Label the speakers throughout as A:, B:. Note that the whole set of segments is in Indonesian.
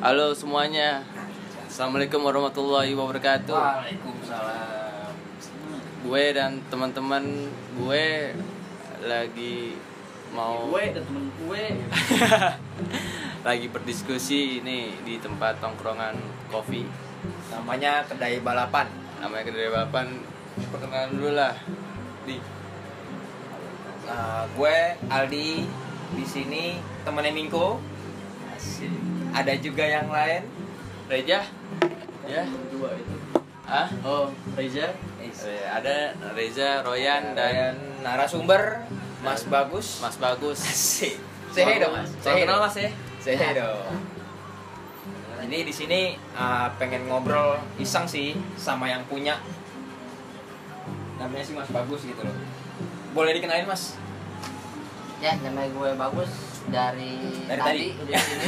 A: Halo semuanya. Assalamualaikum warahmatullahi
B: Gitu.
A: wabarakatuh.
C: Waalaikumsalam.
A: Gue dan teman-teman gue lagi mau
C: Gue dan temen gue.
A: lagi berdiskusi ini di tempat tongkrongan kopi
B: namanya kedai balapan
A: namanya kedai bapan perkenalan dulu lah di
B: Nah, gue Aldi di sini temennya Mingko
C: Asik.
B: ada juga yang lain
A: Reja ya
C: Dua itu.
A: ah
C: Oh, Reza.
A: Eh, ada Reza Royan dan
B: dan narasumber Mas
A: Dan-
B: Bagus
A: Mas Bagus
B: Asik. Say hey dong Mas
A: Salam
B: Say hey
A: kenal
B: dong.
A: Mas ya
B: Say hey dong jadi di sini ah, pengen ngobrol iseng sih sama yang punya namanya sih Mas Bagus gitu loh boleh dikenalin Mas
D: Ya, nama gue bagus dari,
B: Dari
D: tadi,
B: tadi.
D: udah di sini.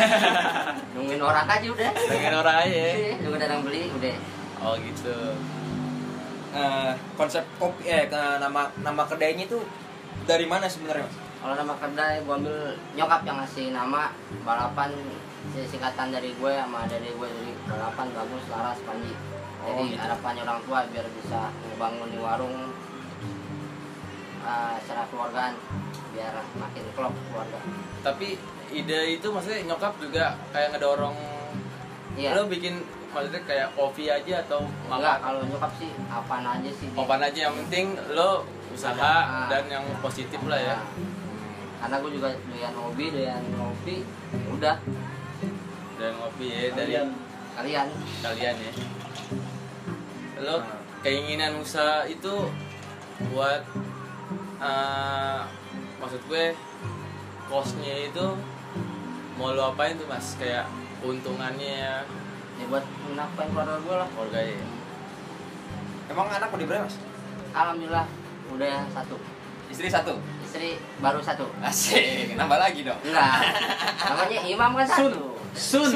D: Nungguin orang aja udah.
A: pengen orang aja ya
D: Iya, Nungguin orang beli udah.
A: oh gitu
B: Eh, konsep kopi eh ke- nama nama kedainya itu dari mana sebenarnya Mas
D: Kalau nama kedai gue ambil nyokap yang ngasih nama balapan singkatan dari gue sama dari gue dari balapan bagus Laras Panji. Jadi
B: Oh, gitu.
D: harapannya orang tua biar bisa ngebangun di warung eh, secara keluargaan biar makin klop keluarga.
A: tapi ide itu maksudnya nyokap juga kayak ngedorong
D: Iya.
A: lo bikin maksudnya kayak kopi aja atau
D: Enggak,
A: makan
D: kalau nyokap sih apaan aja sih. dia.
A: Opan aja yang penting lo usaha
D: Ada.
A: dan yang positif lah ya
D: Nah, karena gue juga doyan hobi doyan ngopi ya udah
A: dan ngopi ya dari
C: Kalian.
D: kalian
A: kalian ya lo
D: Hmm.
A: keinginan usaha itu buat eh, maksud gue costnya itu mau lo apain tuh mas kayak keuntungannya
D: ya buat nafkahin keluarga gue lah
A: keluarga ya
B: Emang anak udah berapa mas?
D: alhamdulillah udah satu
B: Istri satu.
D: istri baru satu
B: Asik, nambah lagi dong.
D: enggak namanya imam kan satu
A: Sun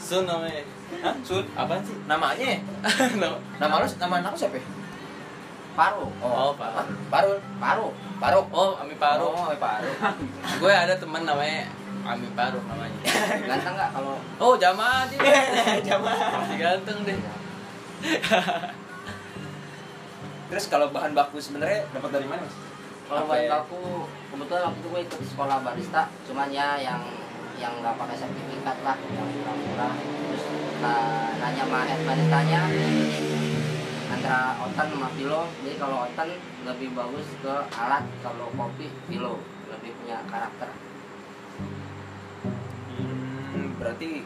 A: Sun namanya
B: Hah? Sud,
A: apa sih
B: namanya?
A: No.
B: Nama lu, nama anak lu siapa? ya?
D: paru
A: Oh, Parul.
B: Ah, Parul.
D: paru
B: Paruk.
A: oh Ami Paruk
B: Oh, Paruk.
A: gue ada teman namanya Ami Paruk namanya
D: ganteng nggak kalau
A: oh jamaah dia
B: Jamaah.
A: masih ganteng deh
B: Terus kalau bahan baku sebenarnya dapat dari mana, Mas?
D: kalau
B: Apa
D: buat
B: ya?
D: aku kebetulan waktu itu gue ikut sekolah barista cuman ya yang yang nggak pakai sertifikat lah yang murah-murah terus uh, nanya sama head baristanya antara oten sama pilo jadi kalau oten lebih bagus ke alat kalau kopi pilo lebih punya karakter
B: Hmm, berarti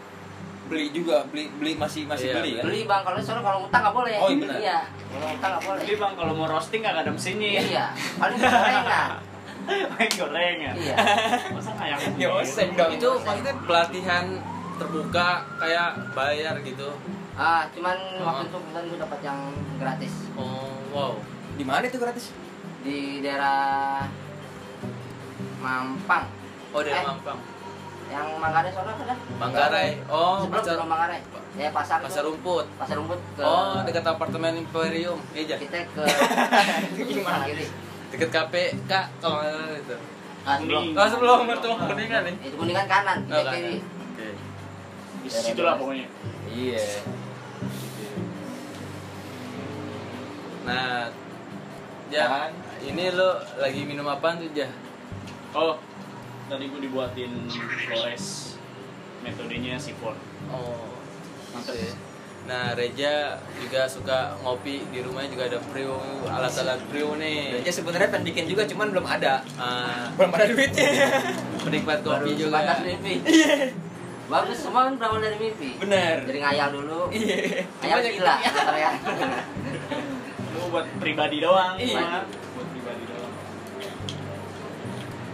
B: beli juga, beli beli masih masih
A: Iya,
B: beli ya?
D: beli bang kalau soalnya kalau utang nggak boleh
B: Oh, iya benar.
D: iya kalau utang nggak boleh
C: Jadi bang kalau mau roasting gak ada mesinnya.
D: iya paling gorengan
C: Main gorengan.
D: iya
C: Masa ayam.
B: Ya, oseng dong.
A: itu maksudnya pelatihan terbuka kayak bayar gitu
D: ah cuman waktu itu kebetulan gue dapat yang gratis
A: oh wow
B: Di mana itu gratis?
D: di daerah Mampang
A: oh dari
D: Eh.
A: Mampang
D: yang Manggarai sono apa dah?
A: Manggarai oh
D: sebelum
A: pasar
D: sebelum Manggarai ya pasar
A: pasar
D: tuh,
A: rumput
D: pasar rumput ke
A: oh dekat apartemen Imperium iya
D: kita ke
B: Gimana?
D: kiri
A: dekat KPK kalau nggak salah itu
D: ah, sebelum
C: Kuning.
A: oh sebelum bertemu kuningan nih
D: itu kuningan kanan kita
A: Oh, kanan.
D: kiri
A: Oke.
C: Di situ lah pokoknya.
B: Iya.
A: Nah, Jah,
B: Dan-
A: ini lo lagi minum apaan tuh, Jah?
C: Oh, tadi gue dibuatin Flores metodenya sifon.
A: Oh,
C: Iya.
A: Nah, Reja juga suka ngopi di rumahnya juga ada brew, alat-alat brew nih.
B: Ya sebenarnya pengen bikin juga cuman belum ada.
A: Ah,
B: Belum ada duitnya.
A: penikmat
D: baru
A: kopi juga. ya? Iya.
D: sebatas mimpi bagus semua kan berawal dari mimpi
B: Bener.
D: dari ngayal dulu
B: Iya.
D: ngayal gila ya
C: Lu buat pribadi doang,
B: Iya.
C: Bang. Buat pribadi doang.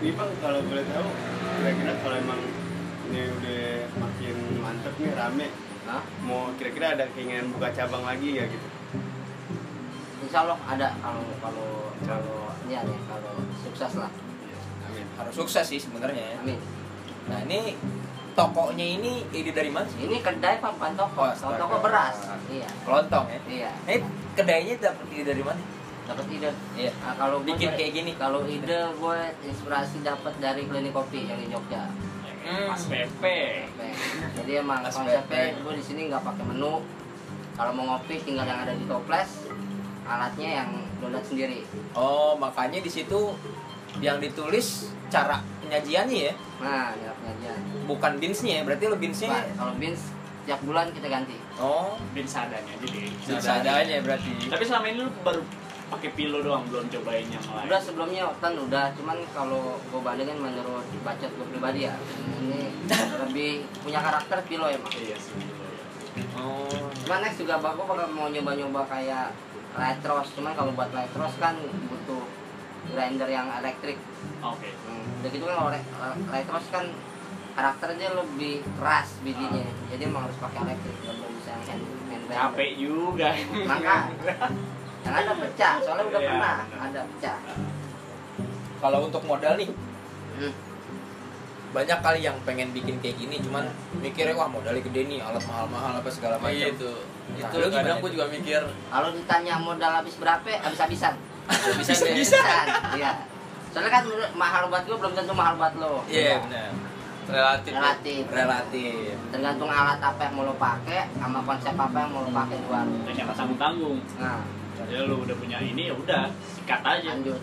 C: Ini bang kalau boleh tahu, kira-kira kalau emang ini udah makin mantep nih rame,
D: Hah?
C: mau kira-kira ada keinginan buka cabang lagi ya gitu?
D: Insya Allah ada kalau kalau kalau ini ada kalau sukses lah
B: Amin. Harus sukses sih sebenarnya. ya.
A: Iya.
D: amin
B: Nah, ini tokonya ini ide dari mana sih?
D: ini kedai apa bukan toko kalau
B: Astaga.
D: toko beras iya
B: Kelontong ya.
D: iya
B: Nah, Ini kedainya dapat ide dari mana?
D: dapat ide
B: Iya.
D: Nah, kalau gua
B: Bikin
D: dari-
B: kayak gitu. gini.
D: kalau ide gue inspirasi dapat dari klinik kopi yang di Jogja
C: Mas
B: Hmm.
C: PP.
D: Oke. jadi emang
B: SPP.
D: konsepnya gue di sini nggak pakai menu kalau mau ngopi tinggal yang ada di toples alatnya yang lo lihat sendiri
B: Oh, makanya di situ yang ditulis cara penyajiannya ya,
D: nah di pengajian
B: bukan beansnya ya. Berarti lo beansnya
D: kalau beans tiap bulan kita ganti
B: oh
C: Bin seadanya aja deh.
B: beans adanya berarti.
C: Tapi selama ini lu baru pakai pilo doang, belum cobain yang lain.
D: udah sebelumnya Oktan udah cuman kalau gue bandingin menurut bacot gue pribadi ya ini lebih punya karakter pilo emang
C: Iya sih. Pilo ya.
B: Oh.
D: cuman next juga bapak bakal mau nyoba-nyoba kayak light roast cuman kalau buat light roast kan butuh grinder yang elektrik
C: Oke.
D: Hmm, udah gitu kan kalau re- eh, light roast kan karakternya lebih keras bijinya jadi emang harus pakai elektrik nggak boleh bisa yang hand hand blender.
C: Capek juga.
D: maka yang ada pecah soalnya udah
C: Iya,
D: pernah
C: benar.
D: ada pecah
B: Kalau untuk modal nih,
D: Hmm.
B: banyak kali yang pengen bikin kayak gini cuman mikirnya wah modalnya gede nih alat mahal-mahal apa segala
A: Nah,
B: macam
A: iya itu. Itu
B: Nah, lu
A: kadang
B: gimana
A: gue
B: itu?
A: juga mikir
D: kalau ditanya modal habis berapa habis-habisan
A: bisa deh.
D: Habis-habisan, iya soalnya kan menurut- mahal buat gue belum tentu mahal buat lo
B: iya benar
A: ya? Relatif.
D: relatif
B: relatif
D: tergantung alat apa yang mau lo pakai sama konsep apa yang mau lo pakai di warung
C: Dan jangan tanggung tanggung.
D: nah
C: Jadi lu udah punya ini ya udah sikat aja.
D: lanjut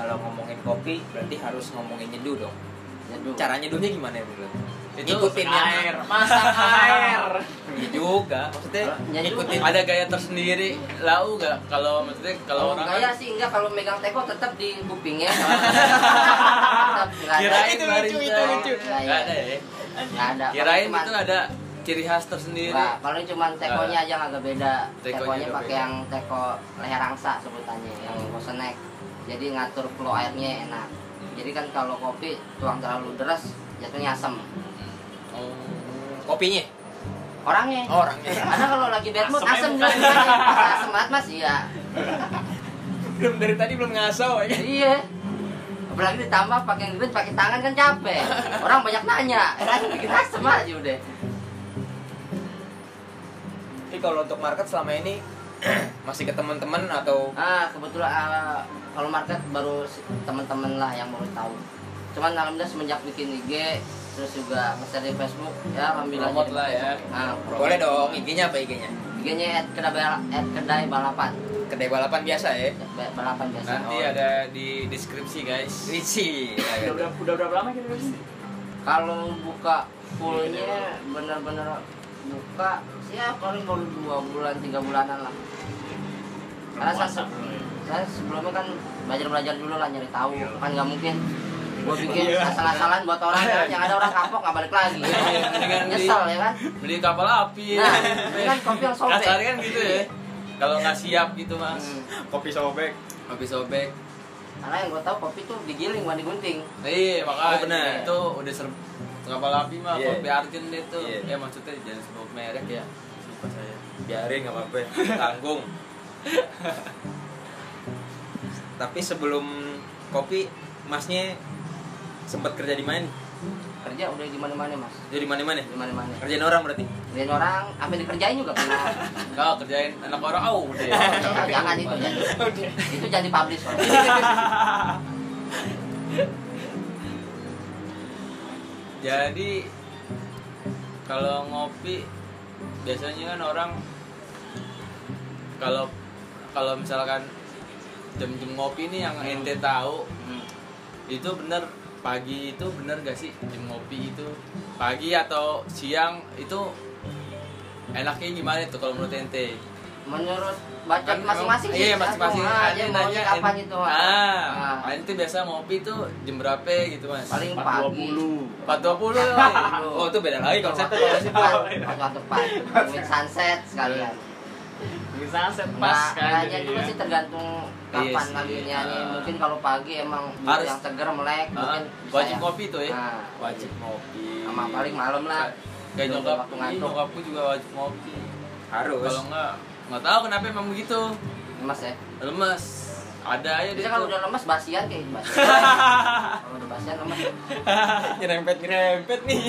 B: kalau ngomongin kopi berarti harus ngomongin nyeduh dong
D: Nyeduh.
B: cara nyeduhnya gimana ya bro
A: Itu
B: ngikutin yang
C: air.
B: masak air iya juga maksudnya
D: Nyeduh.
B: ngikutin
A: ada gaya tersendiri lau gak kalau maksudnya kalau
B: Oh,
D: kalau
A: orang
D: gaya
A: kan
D: sih enggak kalau megang teko tetap di kupingnya tetap nggak ada.
A: kirain
B: Itu lucu,
A: barista.
B: itu lucu.
D: Nggak
A: Nggak ada
D: ada.
A: ya
D: Iya, Nggak ada
A: kirain
D: Paling
A: itu
D: cuman-
A: ada ciri khas tersendiri
D: Nah, paling cuma tekonya aja yang agak beda
A: Tekonya
D: tekonya
A: agak
D: pakai
A: beda.
D: yang teko leher angsa sebutannya yang bosenek jadi ngatur flow airnya enak
A: Hmm.
D: jadi kan kalau kopi tuang terlalu deras jatuhnya asam
A: oh.
B: kopinya
D: orangnya
B: Oh, orangnya
D: karena kalau lagi bad mood kan,
C: Asemnya
D: asam
C: bukan.
D: juga asam banget mas iya
B: belum dari tadi belum ngasau ya
D: iya apalagi ditambah pakai ngerit pakai tangan kan capek orang banyak nanya kan bikin asem aja udah
B: tapi kalau untuk market selama ini masih ke teman-teman atau
D: ah kebetulan ah, kalau market baru si- teman-teman lah yang baru tahu cuman alhamdulillah semenjak bikin IG terus juga nge-share di Facebook ya alhamdulillah
A: Promote
D: jadi-
A: lah ya.
D: ah,
B: boleh dong IG-nya apa IG-nya
D: IG-nya at kedai bal- at kedai balapan
B: kedai balapan biasa ya
D: Ya, ba- balapan biasa
A: nanti
B: Oh.
A: ada di deskripsi guys
B: Ricci
C: Udah udah udah berapa lama kita di sini?
D: kalau buka fullnya bener-bener buka ya paling baru dua bulan tiga bulanan lah Karena
C: Puasa
D: satu-
C: dulu ya.
D: saya sebelumnya kan belajar-belajar dulu lah nyari tahu
C: Iya.
D: kan nggak mungkin gue bikin
C: Iya.
D: asal-asalan buat orang kan yang ada orang kapok nggak balik
A: Iya,
D: lagi
A: Mendingan di-
D: nyesel ya kan
A: beli kapal api
D: nah ini kan kopi yang sobek
A: Iya. kasar kan gitu ya kalau nggak siap gitu mas
D: Hmm.
C: Kopi sobek.
A: kopi sobek
D: karena yang gue tahu kopi tuh digiling bukan digunting
A: iya makanya
B: Oh, benar.
A: itu udah serb kapal api mah
B: Iya.
A: kopi Arjun itu ya
B: Iya.
A: maksudnya jangan sebut merek ya lupa saya
B: biarin nggak apa-apa tanggung tapi sebelum kopi masnya sempat kerja di mana
D: kerja udah di mana-mana mas
B: kerja di mana mana
D: di mana-mana
B: kerjaan orang berarti
D: kerjain orang apa yang dikerjain juga pernah
A: kalau kerjain anak orang oh udah ya.
D: Ah, jangan itu jangan itu jadi publish Mas.
A: Jadi kalau ngopi biasanya kan orang kalau kalau misalkan jam-jam ngopi nih yang ente tahu
D: Hmm.
A: itu bener pagi itu bener gak sih jam ngopi itu pagi atau siang itu enaknya gimana tuh kalau menurut ente?
D: menurut bacot
A: Kan
D: masing-masing
A: memang-
D: sih,
A: Iya masing-masing.
D: tergantung. Ah, dia maunya kapan
A: en-
D: itu
A: Ah,
D: Ah.
A: ente biasa ngopi tuh jam berapa gitu mas?
D: paling
C: Empat dua
D: pagi
C: puluh.
A: 4.20
B: oh itu beda lagi konsepnya
D: kalau depan, waktu depan, with sunset
A: Iya,
D: sekalian.
C: Bisa
D: Nah,
C: sepas kan.
D: kayaknya juga sih tergantung kapan
A: ya. Iya sih,
D: lagi nyanyi.
A: ah.
D: Mungkin kalau pagi emang
A: Harus.
D: yang seger melek,
A: Ah,
D: mungkin bisa
A: wajib
D: yang-
A: ngopi tuh ya
D: Nah,
A: wajib ngopi
D: sama paling malam lah.
A: kayak
D: Belum
A: nyokap
D: waktu
A: iya,
D: ngantuk.
A: nyokapku juga wajib ngopi
B: harus
A: kalau enggak nggak tahu kenapa emang begitu
D: Lemas ya.
A: lemes ada aja dia
D: Bisa kalau
A: tuh.
D: udah lemas basian kayak basian. kalau udah basian lemas.
B: nyerempet nyerempet nih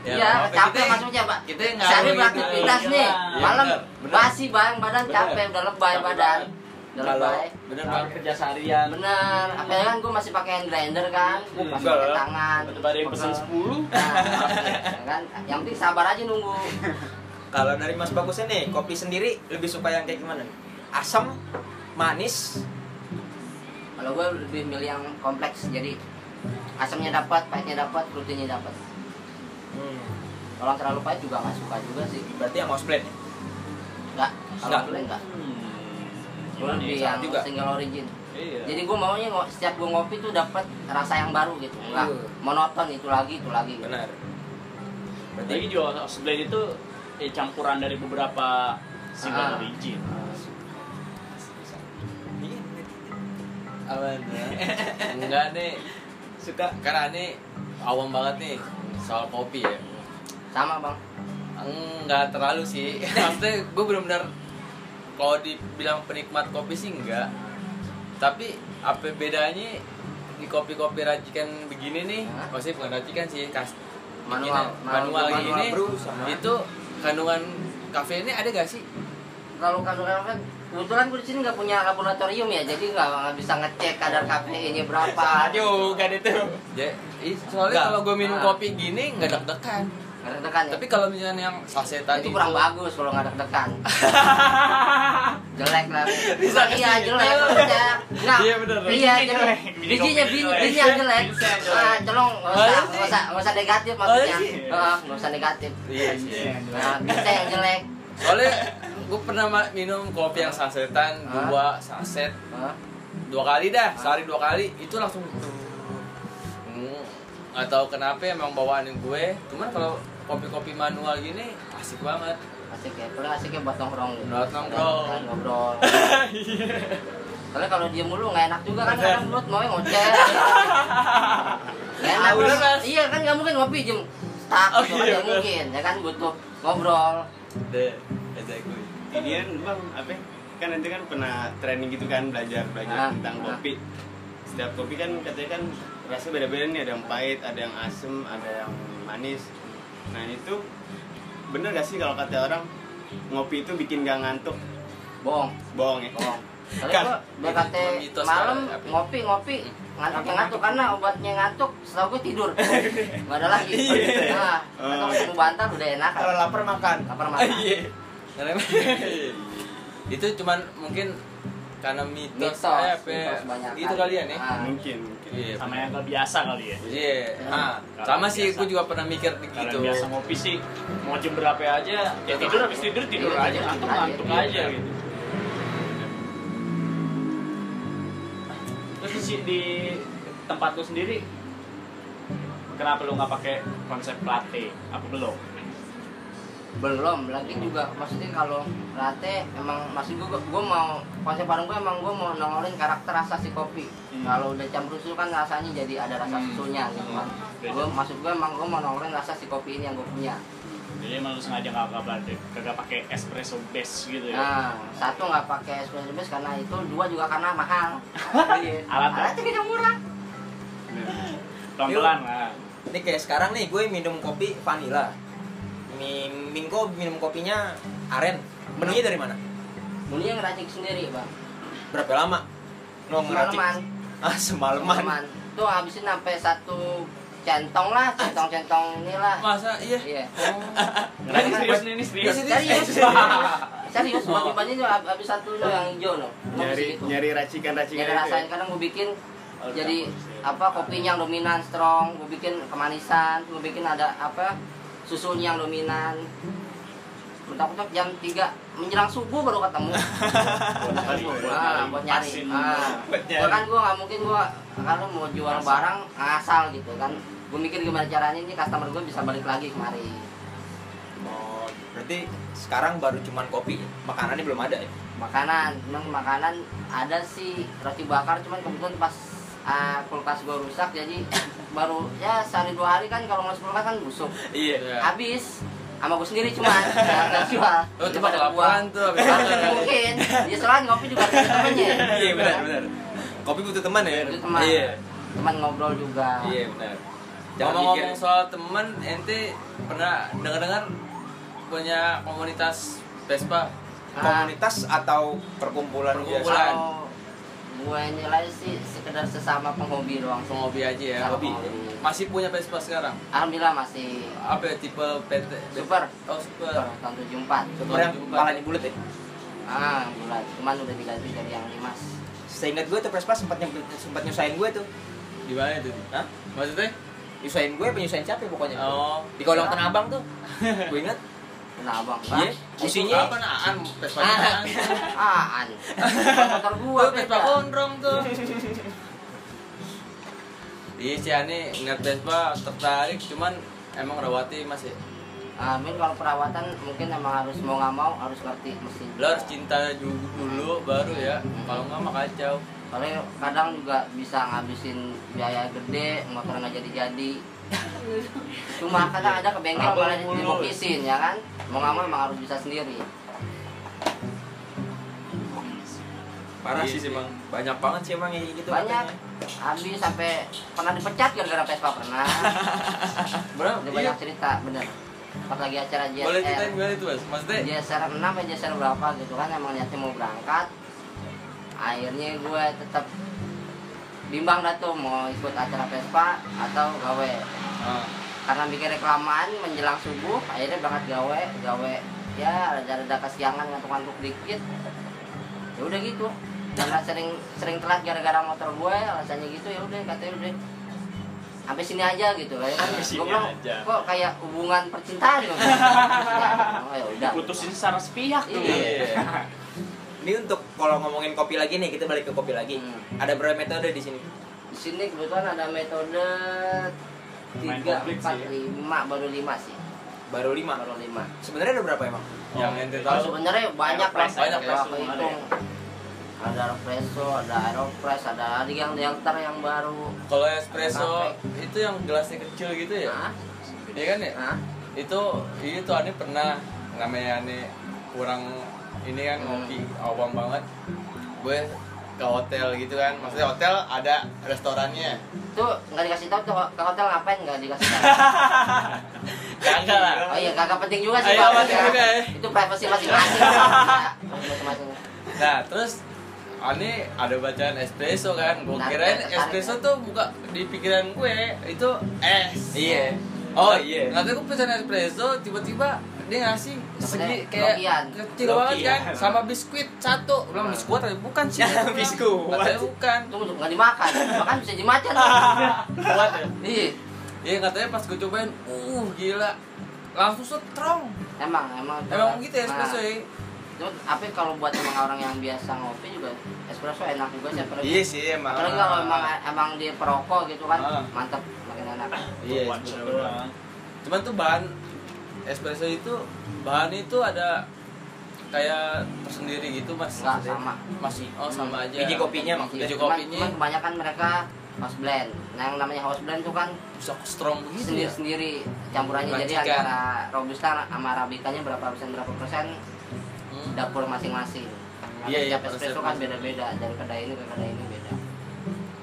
A: Ya,
D: Iya,
A: apa-apa.
D: capek
A: Kita-
D: maksudnya, Pak.
A: kita nggak mau
D: Sehari
A: gitu.
D: beraktivitas
C: Iya,
D: nih,
C: iya,
D: malam
A: bener, bener.
D: basi bang badan
A: Bener.
D: capek udah lebay
A: Capek
D: badan.
A: banget.
D: Udah
A: kalau
D: lebay.
A: bener bang
B: Tapi kerja seharian.
D: bener apalagi kan gue masih pakai hand grinder kan gue
B: Hmm,
D: masih
B: enggak
D: pakai
B: lah.
D: tangan
C: Tiba-tiba ada yang pesan 10
D: nah, ya kan yang penting sabar aja nunggu
B: Kalau dari Mas Bagusnya nih, kopi sendiri lebih suka yang kayak gimana? Asam, manis,
D: kalau gue lebih milih yang kompleks jadi asamnya dapat pahitnya dapat rutinnya dapat kalau yang terlalu pahit juga nggak suka juga sih
B: berarti yang house blend. ya?
D: enggak kalau
B: Enggak.
D: gue enggak gue
B: Iya,
D: lebih
B: sama
D: yang
B: juga.
D: single origin
C: Iya
D: Hmm. jadi gue maunya ngo- setiap gue ngopi tuh dapat rasa yang baru gitu enggak
B: Iya.
D: monoton itu lagi itu lagi gitu.
B: Benar. Berarti
E: Lagi juga blend itu eh, campuran dari beberapa
D: Ah.
E: single origin.
B: Iya,
A: aman Iya. enggak nih
B: suka
A: karena ini awam banget nih soal kopi ya
D: sama bang
A: enggak terlalu sih maksudnya gue benar-benar kalau dibilang penikmat kopi sih enggak tapi apa bedanya di kopi-kopi racikan begini nih
D: Hah?
A: pasti bukan racikan sih kas
D: Manual,
A: bikinan- manual,
D: manual, manual
A: ini
B: brew sama-
A: itu kandungan kafeinnya ada gak sih
D: kalau kadar kan kebetulan gue di sini nggak punya laboratorium ya jadi nggak nggak bisa ngecek kadar kafeinnya berapa
B: juga deh tuh.
A: ya ih, soalnya
B: Enggak.
A: kalau gue minum
D: Ah.
A: kopi gini nggak deg-degan
D: Ngedekan ya
A: tapi kalau misalnya yang saset tadi
D: itu kurang bagus kalau nggak deg-degan jelek lah
B: Bisa ke
D: iya
B: situ.
D: jelek kerja nah
A: Iya, bener.
D: iya
E: Bijinya
D: jelek
E: jelek.
D: bijinya bi-
E: Bijinya
D: bijinya jelek
E: Bijinya jelek.
D: ah tolong nggak
A: Boleh
D: usah
A: sih.
D: nggak usah nggak usah negatif maksudnya Ah, nggak usah negatif
A: iya sih
D: nah kita yang jelek
A: soalnya gue pernah ma- minum kopi yang sasetan
D: Ah.
A: dua saset
D: Ah,
A: dua kali dah sehari dua kali itu langsung hmm, nggak tahu kenapa emang bawaan gue cuman kalau kopi-kopi manual gini asik banget
D: asik ya paling asik ya buat nongkrong gitu.
A: Buat nongkrong. Iya.
D: Kan, ngobrol soalnya kalau diem mulu nggak enak juga kan kadang mulut mau ngoceh nggak enak
B: Ah, bener,
D: kan?
B: Mas.
D: iya kan nggak mungkin ngopi diem tak
A: Oh,
D: gitu
A: iya,
D: nggak
A: bener.
D: mungkin ya kan butuh ngobrol
A: deh gue
C: Ini kan bang, apa ya? Kan nanti kan pernah training gitu kan, belajar
D: Ah,
C: belajar tentang
D: ah.
C: kopi Setiap kopi kan katanya kan rasanya beda-beda nih, ada yang pahit, ada yang asem, ada yang manis Nah itu, bener gak sih kalau kata orang ngopi itu bikin gak ngantuk?
D: bohong
C: Bohong ya?
D: bohong soalnya
C: Kan,
D: gue BKT
A: itu mitos
D: malam
A: kan, apa?
D: ngopi ngopi ngantuknya ngantuk karena obatnya ngantuk setahu gue tidur nggak ada lagi
A: Iya.
D: nah atau
A: Oh.
D: ketemu bantal udah enak
B: Kalau lapar makan.
D: lapar makan
A: Iya. itu cuman mungkin karena mitos,
D: mitos
A: eh, apa ya,
D: mitos banyak
A: gitu kali ya nih
D: Ah.
C: Mungkin, mungkin
A: iya
E: Sama yang gak biasa kali ya.
A: Iya. Ah,
E: Kalau
A: sama
E: yang
A: sih
E: biasa.
A: gue juga pernah mikir gitu.
E: Kalau
A: begitu
E: yang biasa ngopi sih mau jam berapa aja ya tidur habis tidur tidur
D: Iya,
E: aja
D: tidur
E: ngantuk
D: aja.
E: ngantuk aja gitu. Terus di, si- di tempat lu sendiri kenapa lu nggak pakai konsep latte? Apa belum?
D: belum lagi juga maksudnya kalau latte emang masih gue gue mau konsep warung gue emang gue mau nongolin karakter rasa si kopi
E: Hmm.
D: kalau udah campur susu kan rasanya jadi ada rasa susunya gitu kan gue maksud gue emang gue mau nongolin rasa si kopi ini yang gue punya
E: Jadi emang lu sengaja nggak nggak latte, kagak pakai espresso base gitu ya?
D: nah satu nggak pakai espresso base karena itu dua juga karena mahal Iya.
E: Alat ya?
D: alatnya tidak murah Oh,
E: Pelan pelan lah.
B: Ini kayak sekarang nih gue minum kopi vanilla. Mi- Mingko minum kopinya aren. Menunya dari mana?
D: Mending ngeracik sendiri bang
B: Berapa lama? Lo Oh, ngeracik?
D: semalaman
B: Ah, semalaman.
D: semalaman tuh habisin sampai satu centong lah centong centong inilah
A: masa iya
D: iya
E: Nah, ini serius nih, ini serius.
B: Ini
D: Serius.
B: serius.
D: Serius, buat dibanding tuh ab- abis satu lo yang hijau lo. Gua
C: Nyari,
D: mesti gitu.
C: nyari racikan-racikan
D: Nyari kan
C: itu ya?
D: rasain kadang gue bikin
C: Oh,
D: jadi
C: campur.
D: apa kopinya yang dominan strong, gue bikin kemanisan, gue bikin ada apa susunya yang dominan. Mentok-mentok jam 3 menjelang subuh baru ketemu. Ah, buat nyari.
E: Asin.
D: Ah.
B: Buat nyari.
D: Gua kan gue nggak mungkin gue kalau mau jual barang ngasal gitu kan. Gue mikir gimana caranya ini customer gue bisa balik lagi kemari.
B: Oh, berarti sekarang baru cuman kopi. Makanannya belum ada ya?
D: makanan memang makanan ada sih roti bakar cuman kebetulan pas ah, kulkas gue rusak jadi baru ya sehari dua hari kan kalau masuk kulkas kan busuk
B: Iya.
D: habis sama gue sendiri cuman nggak nggak jual
B: Oh,
A: lo tuh
D: Daripada
A: Oh,
D: gua.
A: kelaparan tuh abis makan kali.
D: mungkin ya soalnya ngopi juga ada temennya
B: Iya, benar, benar. Kopi butuh teman ya?
D: Butuh teman.
B: Iya.
D: teman ngobrol juga
B: Iya, benar. Jangan mikir.
A: Ngomong-ngomong soal temen, ente pernah dengar-dengar punya komunitas Vespa?
B: komunitas atau perkumpulan,
A: Perkumpulan.
B: biasa?
D: Nah, Kalau gue nilai sih sekedar sesama penghobi doang sih.
A: Ngopi aja ya,
D: Sama
A: hobi.
D: hobi.
A: Masih punya Vespa sekarang?
D: Alhamdulillah masih
A: Apa ya, tipe PT?
D: Super.
A: Oh, super.
B: Iya.
D: super, tahun 74
A: Super.
B: Yang palanya bulat ya?
D: ah bulat cuman udah diganti dari yang limas
B: Seingat gue tuh Vespa sempat nyem- sempat nyusahin gue tuh.
A: Gimana itu?
B: Hah?
A: Maksudnya?
B: Nyusahin gue, penyusahin siapa ya pokoknya?
A: Oh.
B: Di kolong tanah abang tuh. gue inget.
D: kena abang
B: Iya.
D: Pak.
B: Isinya
A: apa naan? Vespa
B: Ah.
A: naan.
D: apaan motor gua
A: Gua Vespa
D: beda.
A: gondrong tuh. Iya sih Ani ngeliat Vespa tertarik cuman emang rawati masih
D: Amin Ah, kalau perawatan mungkin emang harus mau nggak mau harus ngerti mesin.
A: lo harus cinta dulu, dulu baru ya kalau nggak mah kacau
D: Soalnya kadang juga bisa ngabisin biaya gede, motor nggak jadi-jadi. Cuma kadang ada ke bengkel
E: Abang
D: malah
E: mulu.
D: dilokisin ya kan. Mau nggak mau emang harus bisa sendiri.
A: Iya
B: parah sih,
A: sih,
B: sih
A: Bang.
B: Banyak banget sih emang yang gitu.
D: Banyak
B: katanya.
D: habis sampai pernah dipecat gara-gara Vespa pernah.
A: bro
D: Udah
A: iya
D: banyak Iya, cerita bener. Pas lagi acara JSR.
A: boleh ceritain gimana itu mas maksudnya
D: geser 6 ya geser berapa gitu kan emang niatnya mau berangkat akhirnya gue tetap bimbang dah tuh mau ikut acara Vespa atau gawe
A: ah,
D: karena bikin reklaman menjelang subuh akhirnya berangkat gawe gawe ya rada-rada kesiangan ngantuk-ngantuk dikit ya udah gitu karena sering sering telat gara-gara motor gue alasannya gitu ya udah katanya udah sampai sini aja gitu ya kan
E: Sampai sini
D: gue bilang
E: aja.
D: kok kayak hubungan percintaan gitu oh ya udah
E: Putusin secara sepihak tuh.
A: iya
B: Ini untuk kalau ngomongin kopi lagi nih, kita balik ke kopi lagi.
D: Hmm.
B: Ada berapa metode di sini?
D: di sini kebetulan ada metode
E: Lumayan
D: tiga
E: komplit
D: empat
E: sih ya.
D: lima baru lima sih
B: Baru lima.
D: baru lima
B: Sebenarnya ada berapa emang?
A: yang ente
D: Kalau
A: tahu
D: sebenarnya banyak lah
E: Aeropress,
D: banyak lah
E: aeropress semua ada
D: hitung ada espresso ada aeropress ada ada yang deltar yang baru
A: kalau espresso itu yang gelasnya kecil gitu ya
D: Hah?
A: iya kan ya
D: Hah?
A: itu itu Ani pernah namanya Ani kurang ini kan
D: Hmm.
A: ngopi awam banget gue ke hotel gitu kan maksudnya hotel ada restorannya
D: itu nggak dikasih tahu tuh ke hotel ngapain nggak dikasih tahu
A: kagak lah
D: oh iya kagak penting juga sih
A: Iya,
D: Pak.
A: penting juga ya.
D: itu privasi masing-masing Pak. Ya, masing-masing
A: Nah terus Ani ada bacaan espresso kan Gue
D: Nah,
A: kirain
D: tertarik.
A: espresso tuh buka di pikiran gue Itu es
B: Iya.
A: Oh
B: Nah,
A: iya Nanti gue pesan espresso Tiba-tiba dia ngasih segi kayak
D: Lokian.
A: kecil
B: Lokian.
A: banget kan Sama biskuit satu Belum
D: Hmm.
A: biskuit tapi bukan sih
B: Biskuit.
A: Katanya bukan
D: itu nggak dimakan makan bisa dimakan
E: Kuat ya.
D: iya
A: Iya katanya pas gue cobain Uh gila Langsung strong
D: emang emang
A: Emang gitu ya espresso
D: Nah.
A: ya
D: Cuma tapi kalau buat emang orang yang biasa ngopi juga espresso enak juga sih apalagi.
B: Iya sih emang.
D: Apalagi kalau
A: Ah.
D: emang emang di perokok gitu kan
B: Ah.
D: mantep makin enak.
B: Iya,
E: Kuat
B: betul.
E: bener.
A: Cuman tuh bahan espresso itu bahan itu ada kayak tersendiri gitu mas
D: Enggak sama. Hmm.
A: masih oh sama aja
B: Hmm. Biji kopinya maksudnya.
A: Biji
D: Cuman-
A: kopinya.
D: cuman kebanyakan mereka house blend. Nah yang namanya house blend tuh kan
A: bisa strong begitu
D: Iya.
A: ya
D: sendiri-sendiri campurannya jadi
A: Racikan.
D: antara robusta sama arabikanya berapa persen berapa persen
A: Hmm.
D: dapur masing-masing. Karena
A: Iya, iya,
D: tiap
A: resep
D: espresso kan
A: masing-masing.
D: beda-beda dari kedai ini ke kedai ini beda.
A: Iya.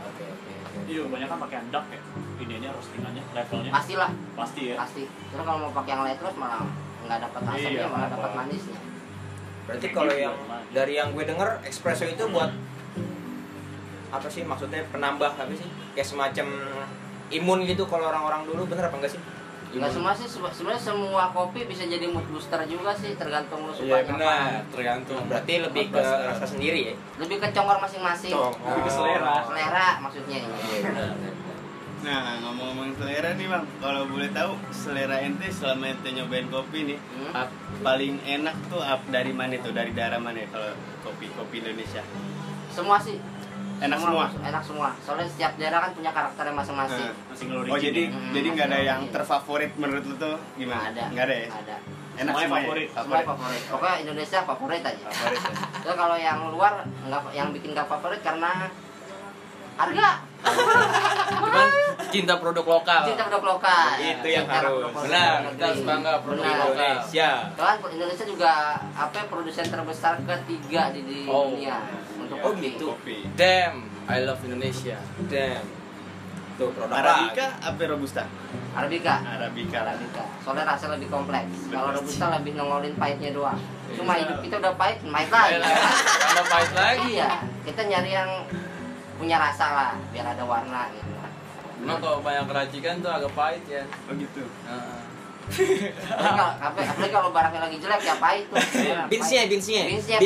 B: Oke, oke, oke.
E: Iya, banyak kan pakai dark ya. Ininya roastingannya, levelnya
D: Pastilah
E: pasti ya.
D: pasti. Terus kalau mau pakai yang light terus malah nggak dapat asamnya
E: Iya,
D: malah
E: apa.
D: dapat manisnya.
B: Berarti
A: Iya,
B: kalau yang dari yang gue denger espresso itu buat apa sih maksudnya penambah apa sih? Kayak semacam imun gitu kalau orang-orang dulu bener apa enggak sih?
D: Nggak Nah, semua sih, sebe- sebenarnya semua kopi bisa jadi mood booster juga sih, tergantung lu
A: iya
D: suka
A: benar tergantung
B: Nah, Berarti lebih ke rasa sendiri ya.
D: Lebih ke congor masing-masing.
A: Oh.
E: Lebih ke selera.
D: Selera maksudnya.
A: Hmm.
C: Nah, ngomong-ngomong selera nih bang, kalau boleh tahu selera ente selama ente nyobain kopi nih
D: Hmm.
C: ap- paling enak tuh ap, dari mana tuh dari daerah mana ya kalau kopi kopi Indonesia?
D: Semua sih.
C: Enak semua.
D: Enak semua. Soalnya setiap daerah kan punya karakternya masing-masing.
C: Nah.
E: Masih ngeluarin.
C: Oh jadi
D: Hmm,
C: jadi nggak ada
D: masih
C: yang
D: ngeluarin.
C: terfavorit menurut lu tuh
D: Nggak
C: gimana?
D: ada.
C: Nggak ada ya?
D: Nggak ada.
C: Enak
E: Semuanya
C: semua ya?
E: favorit.
D: Semua
C: Favorit.
D: favorit. Pokoknya Indonesia favorit aja.
C: Favorit ya.
D: Terus kalau yang luar nggak yang bikin nggak favorit karena harga
A: cuman cinta produk lokal
D: cinta produk lokal.
B: Itu yang
D: Cinta
B: harus.
D: produk lokal
A: Benar,
D: negeri.
A: kita harus bangga produk
D: Benar.
A: lokal.
B: Indonesia.
D: Soalnya Indonesia juga apa ya, produsen terbesar ketiga di, di
A: Oh.
D: dunia untuk
B: Oh,
D: kopi.
B: gitu.
C: Kopi.
A: damn I love Indonesia
B: Damn. Tuh produk lagi.
C: Arabica apa robusta?
D: Arabica
C: Arabica.
D: Arabica soalnya rasanya lebih kompleks kalau
C: Betul.
D: robusta lebih nongolin pahitnya doang cuma
C: Iya.
D: hidup kita udah pahit pahit
A: Ayo lah,
D: lagi
A: Tambah pahit lagi
D: iya kita nyari yang punya rasa lah biar ada warna gitu
A: Emang kalau banyak kerajikan tuh agak pahit ya
C: Oh gitu.
A: Heeh.
D: Tapi kalau- tapi- apalagi kalau barangnya lagi jelek ya pahit tuh
B: Binsnya, binsnya.
D: Binsnya,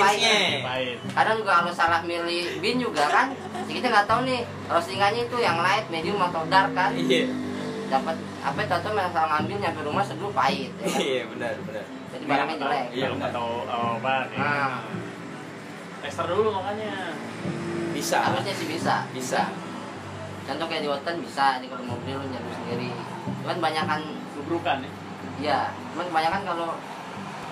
E: Pahit.
D: kadang juga kalau salah milih bin juga kan kita nggak tahu nih roastingannya itu yang light medium atau dark kan
B: Iya.
D: dapat apa tahu memang salah ngambil nyampe rumah seduh pahit ya kan?
B: Iya, benar, benar.
D: jadi barangnya jelek
E: Iya, lu nggak tahu
C: Ah.
E: obat. ya.
D: nah
E: Tester dulu makanya.
B: Bisa.
D: harusnya sih bisa
B: Bisa.
D: contoh kayak di Weton bisa di kalau mobil lu nyari sendiri cuman banyakan
E: Tubrukan ya.
D: ya cuman kebanyakan kalau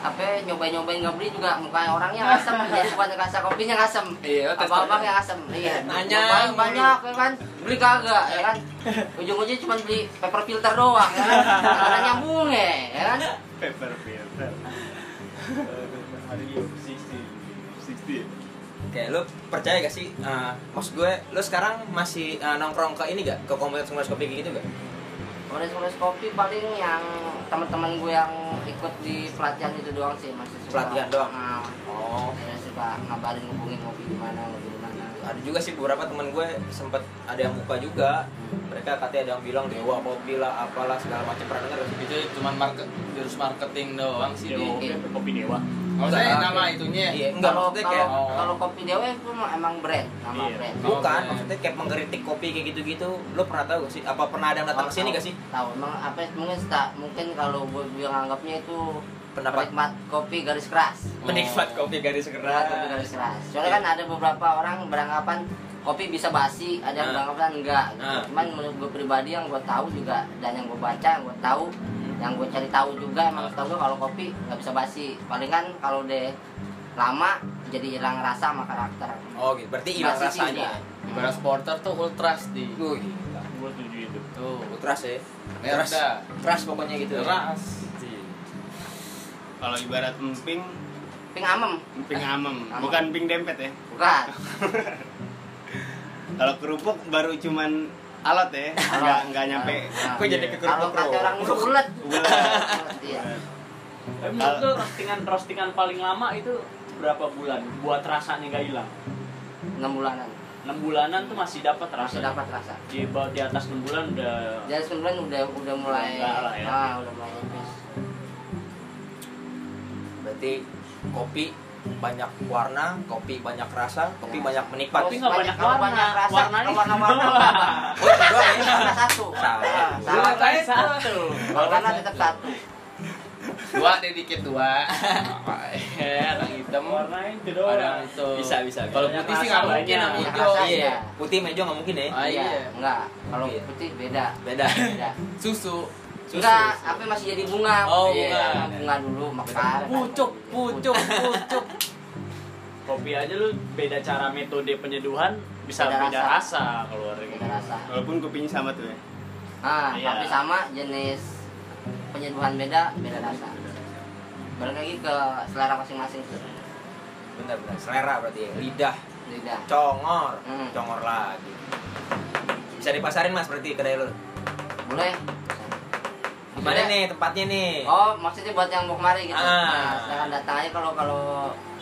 D: apa nyobain nyobain nggak beli juga mukanya orangnya Iya, asem jadi bukan kasar kopinya asem
A: Iya,
D: apa abang yang asem iya
A: Nanya
D: Nyobain
A: mulu.
D: banyak ya kan beli kagak ya kan ujung ujungnya cuma beli paper filter doang ya kan karena nyambung ya ya kan
C: Paper filter. Ada di 60. 60.
B: Oke, lu percaya gak sih? eh, maksud gue, lu sekarang masih eh, nongkrong ke ini gak? Ke komunitas-komunitas kopi kayak gitu gak?
D: Nulis nulis kopi paling yang teman-teman gue yang ikut di pelatihan itu doang sih masih suka
B: Pelatihan doang?
D: Nah,
B: Oh,
D: dia suka ngabarin hubungin kopi gimana kopi gimana
B: ada juga sih beberapa temen gue sempet ada yang buka juga. Mereka katanya ada yang bilang dewa kopi lah, apalah segala macam pernah denger gak sih?
A: Itu cuma market, jurus marketing doang sih
E: Dewa,
A: di
D: Iya.
E: kopi dewa.
A: Oh, saya nama itunya
B: Iya, enggak
D: kalau
B: maksudnya kayak
D: kalau
A: oh.
D: kalau kopi dewa itu emang brand nama
E: Iya.
D: brand
A: Oh,
B: bukan,
A: iya.
B: maksudnya kayak mengkritik kopi kayak gitu-gitu. Lu pernah tahu gak sih? Apa pernah ada yang datang ke sini gak sih?
D: Tahu, emang apa mungkin tak mungkin kalau gue bilang anggapnya itu
B: Pendapat
D: penikmat kopi garis keras.
B: penikmat kopi garis
D: Penikmat Iya, kopi
B: keras.
D: garis keras. Soalnya kan ada beberapa orang beranggapan kopi bisa basi, ada
B: Ah.
D: yang beranggapan enggak. gitu.
B: Ah.
D: Cuman menurut gue pribadi yang gue tahu juga dan yang gue baca, yang gue tahu, yang gue cari tahu juga emang tahu gue kalau kopi nggak bisa basi. Palingan kalau deh lama jadi hilang rasa sama karakter.
B: Oh, gitu. Berarti hilang
D: Basi sih
B: rasanya.
D: enggak.
A: Beras porter tuh ultras di
B: Gue gila.
E: Gue setuju itu.
A: Tuh,
B: Keras ya.
A: Keras.
B: Keras pokoknya gitu.
A: keras
B: Iya.
C: Kalau ibarat emping,
D: Ping amem,
C: emping amem,
D: Amem.
C: bukan emping dempet ya.
D: bukan.
C: Kalau kerupuk baru cuman alat ya, nggak nggak nyampe.
D: Ah.
B: Kok jadi ke
D: Kalau kata orang dulu ulet. Ulet, iya.
E: Tapi menurut lo roastingan roastingan paling lama itu berapa bulan buat rasanya nggak hilang?
D: enam bulanan
E: 6 bulanan tuh masih dapat
D: masih
E: rasanya.
D: dapat Ya. rasa
E: Di, bawah- di atas 6 bulan udah
D: jadi sembilan udah udah mulai
E: Enggak lah ya.
D: ah udah mulai nipis
B: Berarti kopi banyak warna, kopi banyak rasa, kopi
D: Ya.
B: banyak penikmat.
E: Kopi nggak banyak
D: kalau
E: warna.
D: banyak rasa
E: Warnanya
D: warna warna
E: semua.
B: Oh, itu doang ya?
D: warna satu
B: Salah.
D: Ah, salah
A: Salah.
E: Bulan satu.
D: kalau warna tetap satu
A: dua deh dikit dua orang hitam
E: Warnanya itu
A: orang
E: doang.
A: itu
B: Bisa, bisa, bisa.
A: kalau putih sih nggak
E: Banyak
A: mungkin
E: rasa
A: sama
D: banyak.
A: hijau
D: Rasa.
B: Iya, putih meja nggak mungkin ya.
D: Oh,
A: Ah, iya.
D: enggak kalau
B: Iya.
D: putih beda
B: Beda.
D: beda
A: susu
B: Susu,
D: enggak
B: susu.
D: apa masih jadi bunga
A: Oh,
D: Iya,
A: bunga.
D: bunga dulu mekar
A: pucuk pucuk pucuk
E: Kopi aja lu beda cara metode penyeduhan bisa
D: Beda
E: beda,
D: rasa.
E: rasa keluar
D: beda rasa
C: Walaupun kopinya sama tuh ya.
D: ah
E: Iya.
D: tapi sama jenis penyeduhan beda beda rasa balik lagi ke selera masing-masing tuh,
B: Benar-benar selera berarti ya. Lidah,
D: lidah
B: congor,
D: Hmm.
B: congor lagi. Bisa dipasarin Mas berarti kedai lu.
D: boleh
B: Di mana nih tempatnya nih?
D: Iya. Oh, maksudnya buat yang mau kemari gitu.
B: Ah.
D: Nah, silakan datang aja kalau kalau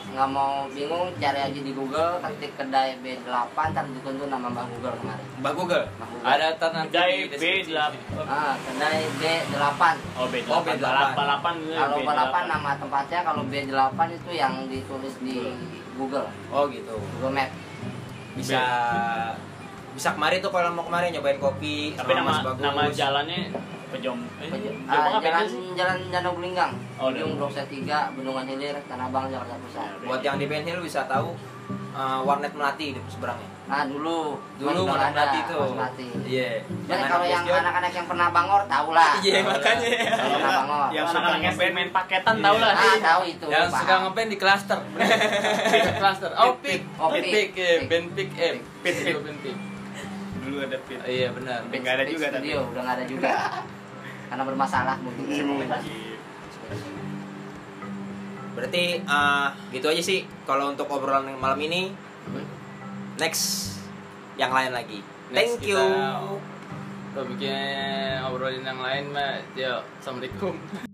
D: nggak mau bingung cari aja di Google ketik kedai B8 ntar dituntun nama Mbak Google kemari.
B: Mbak Google.
D: Mbak Google.
A: ada tanah
E: Kedai B8.
D: Ah, kedai B8.
E: Oh B8.
B: Oh,
E: Oh,
B: B8.
E: B8. Balapan gitu ya,
D: Kalau
E: B8.
D: B8 nama tempatnya, kalau B8 itu yang ditulis di Google,
B: Oh gitu.
D: Google Map.
B: Bisa bisa kemari tuh kalau mau kemari nyobain kopi
E: Tapi nama nama jalannya Pejom. Eh,
D: Pej-
E: Pejom
D: Ah,
E: apa
D: jalan
E: beda sih?
D: Jalan Danau Belinggang,
E: Oh,
D: Ujung
E: Danau.
D: Blok 3, Bendungan Hilir, Tanah Abang, Jakarta Pusat.
B: buat yang di Ben Hill bisa tahu eh, warnet melati di seberangnya
D: Nah, dulu
B: dulu
D: Mas
B: warnet
D: ada,
B: melati tuh
D: Mas Melati.
B: iya
D: Dan kalau yang
B: bastion.
D: anak-anak yang pernah bangor tau lah.
B: iya makanya
D: Kalau
C: Kalau
D: pernah
C: nggak,
D: bangor.
C: yang suka
E: Anak-anak
C: ngeband
E: SD main paketan tau lah.
D: Ah, tahu itu.
A: yang
D: paham.
A: suka ngepen di cluster Di cluster oh pik
D: Oh, pik.
A: pik eh
D: Pik.
A: band pik eh
C: Pik, pik.
A: Band pik
C: dulu ada pit.
A: iya benar
C: Pik. nggak ada
D: Speed
C: juga tapi.
D: studio, udah nggak ada juga. Karena bermasalah mungkin.
C: Ini mungkin.
B: berarti eh, gitu aja sih kalau untuk obrolan yang malam ini next yang lain lagi
A: Next
B: thank you
A: kita- topiknya obrolin yang lain mah ya assalamualaikum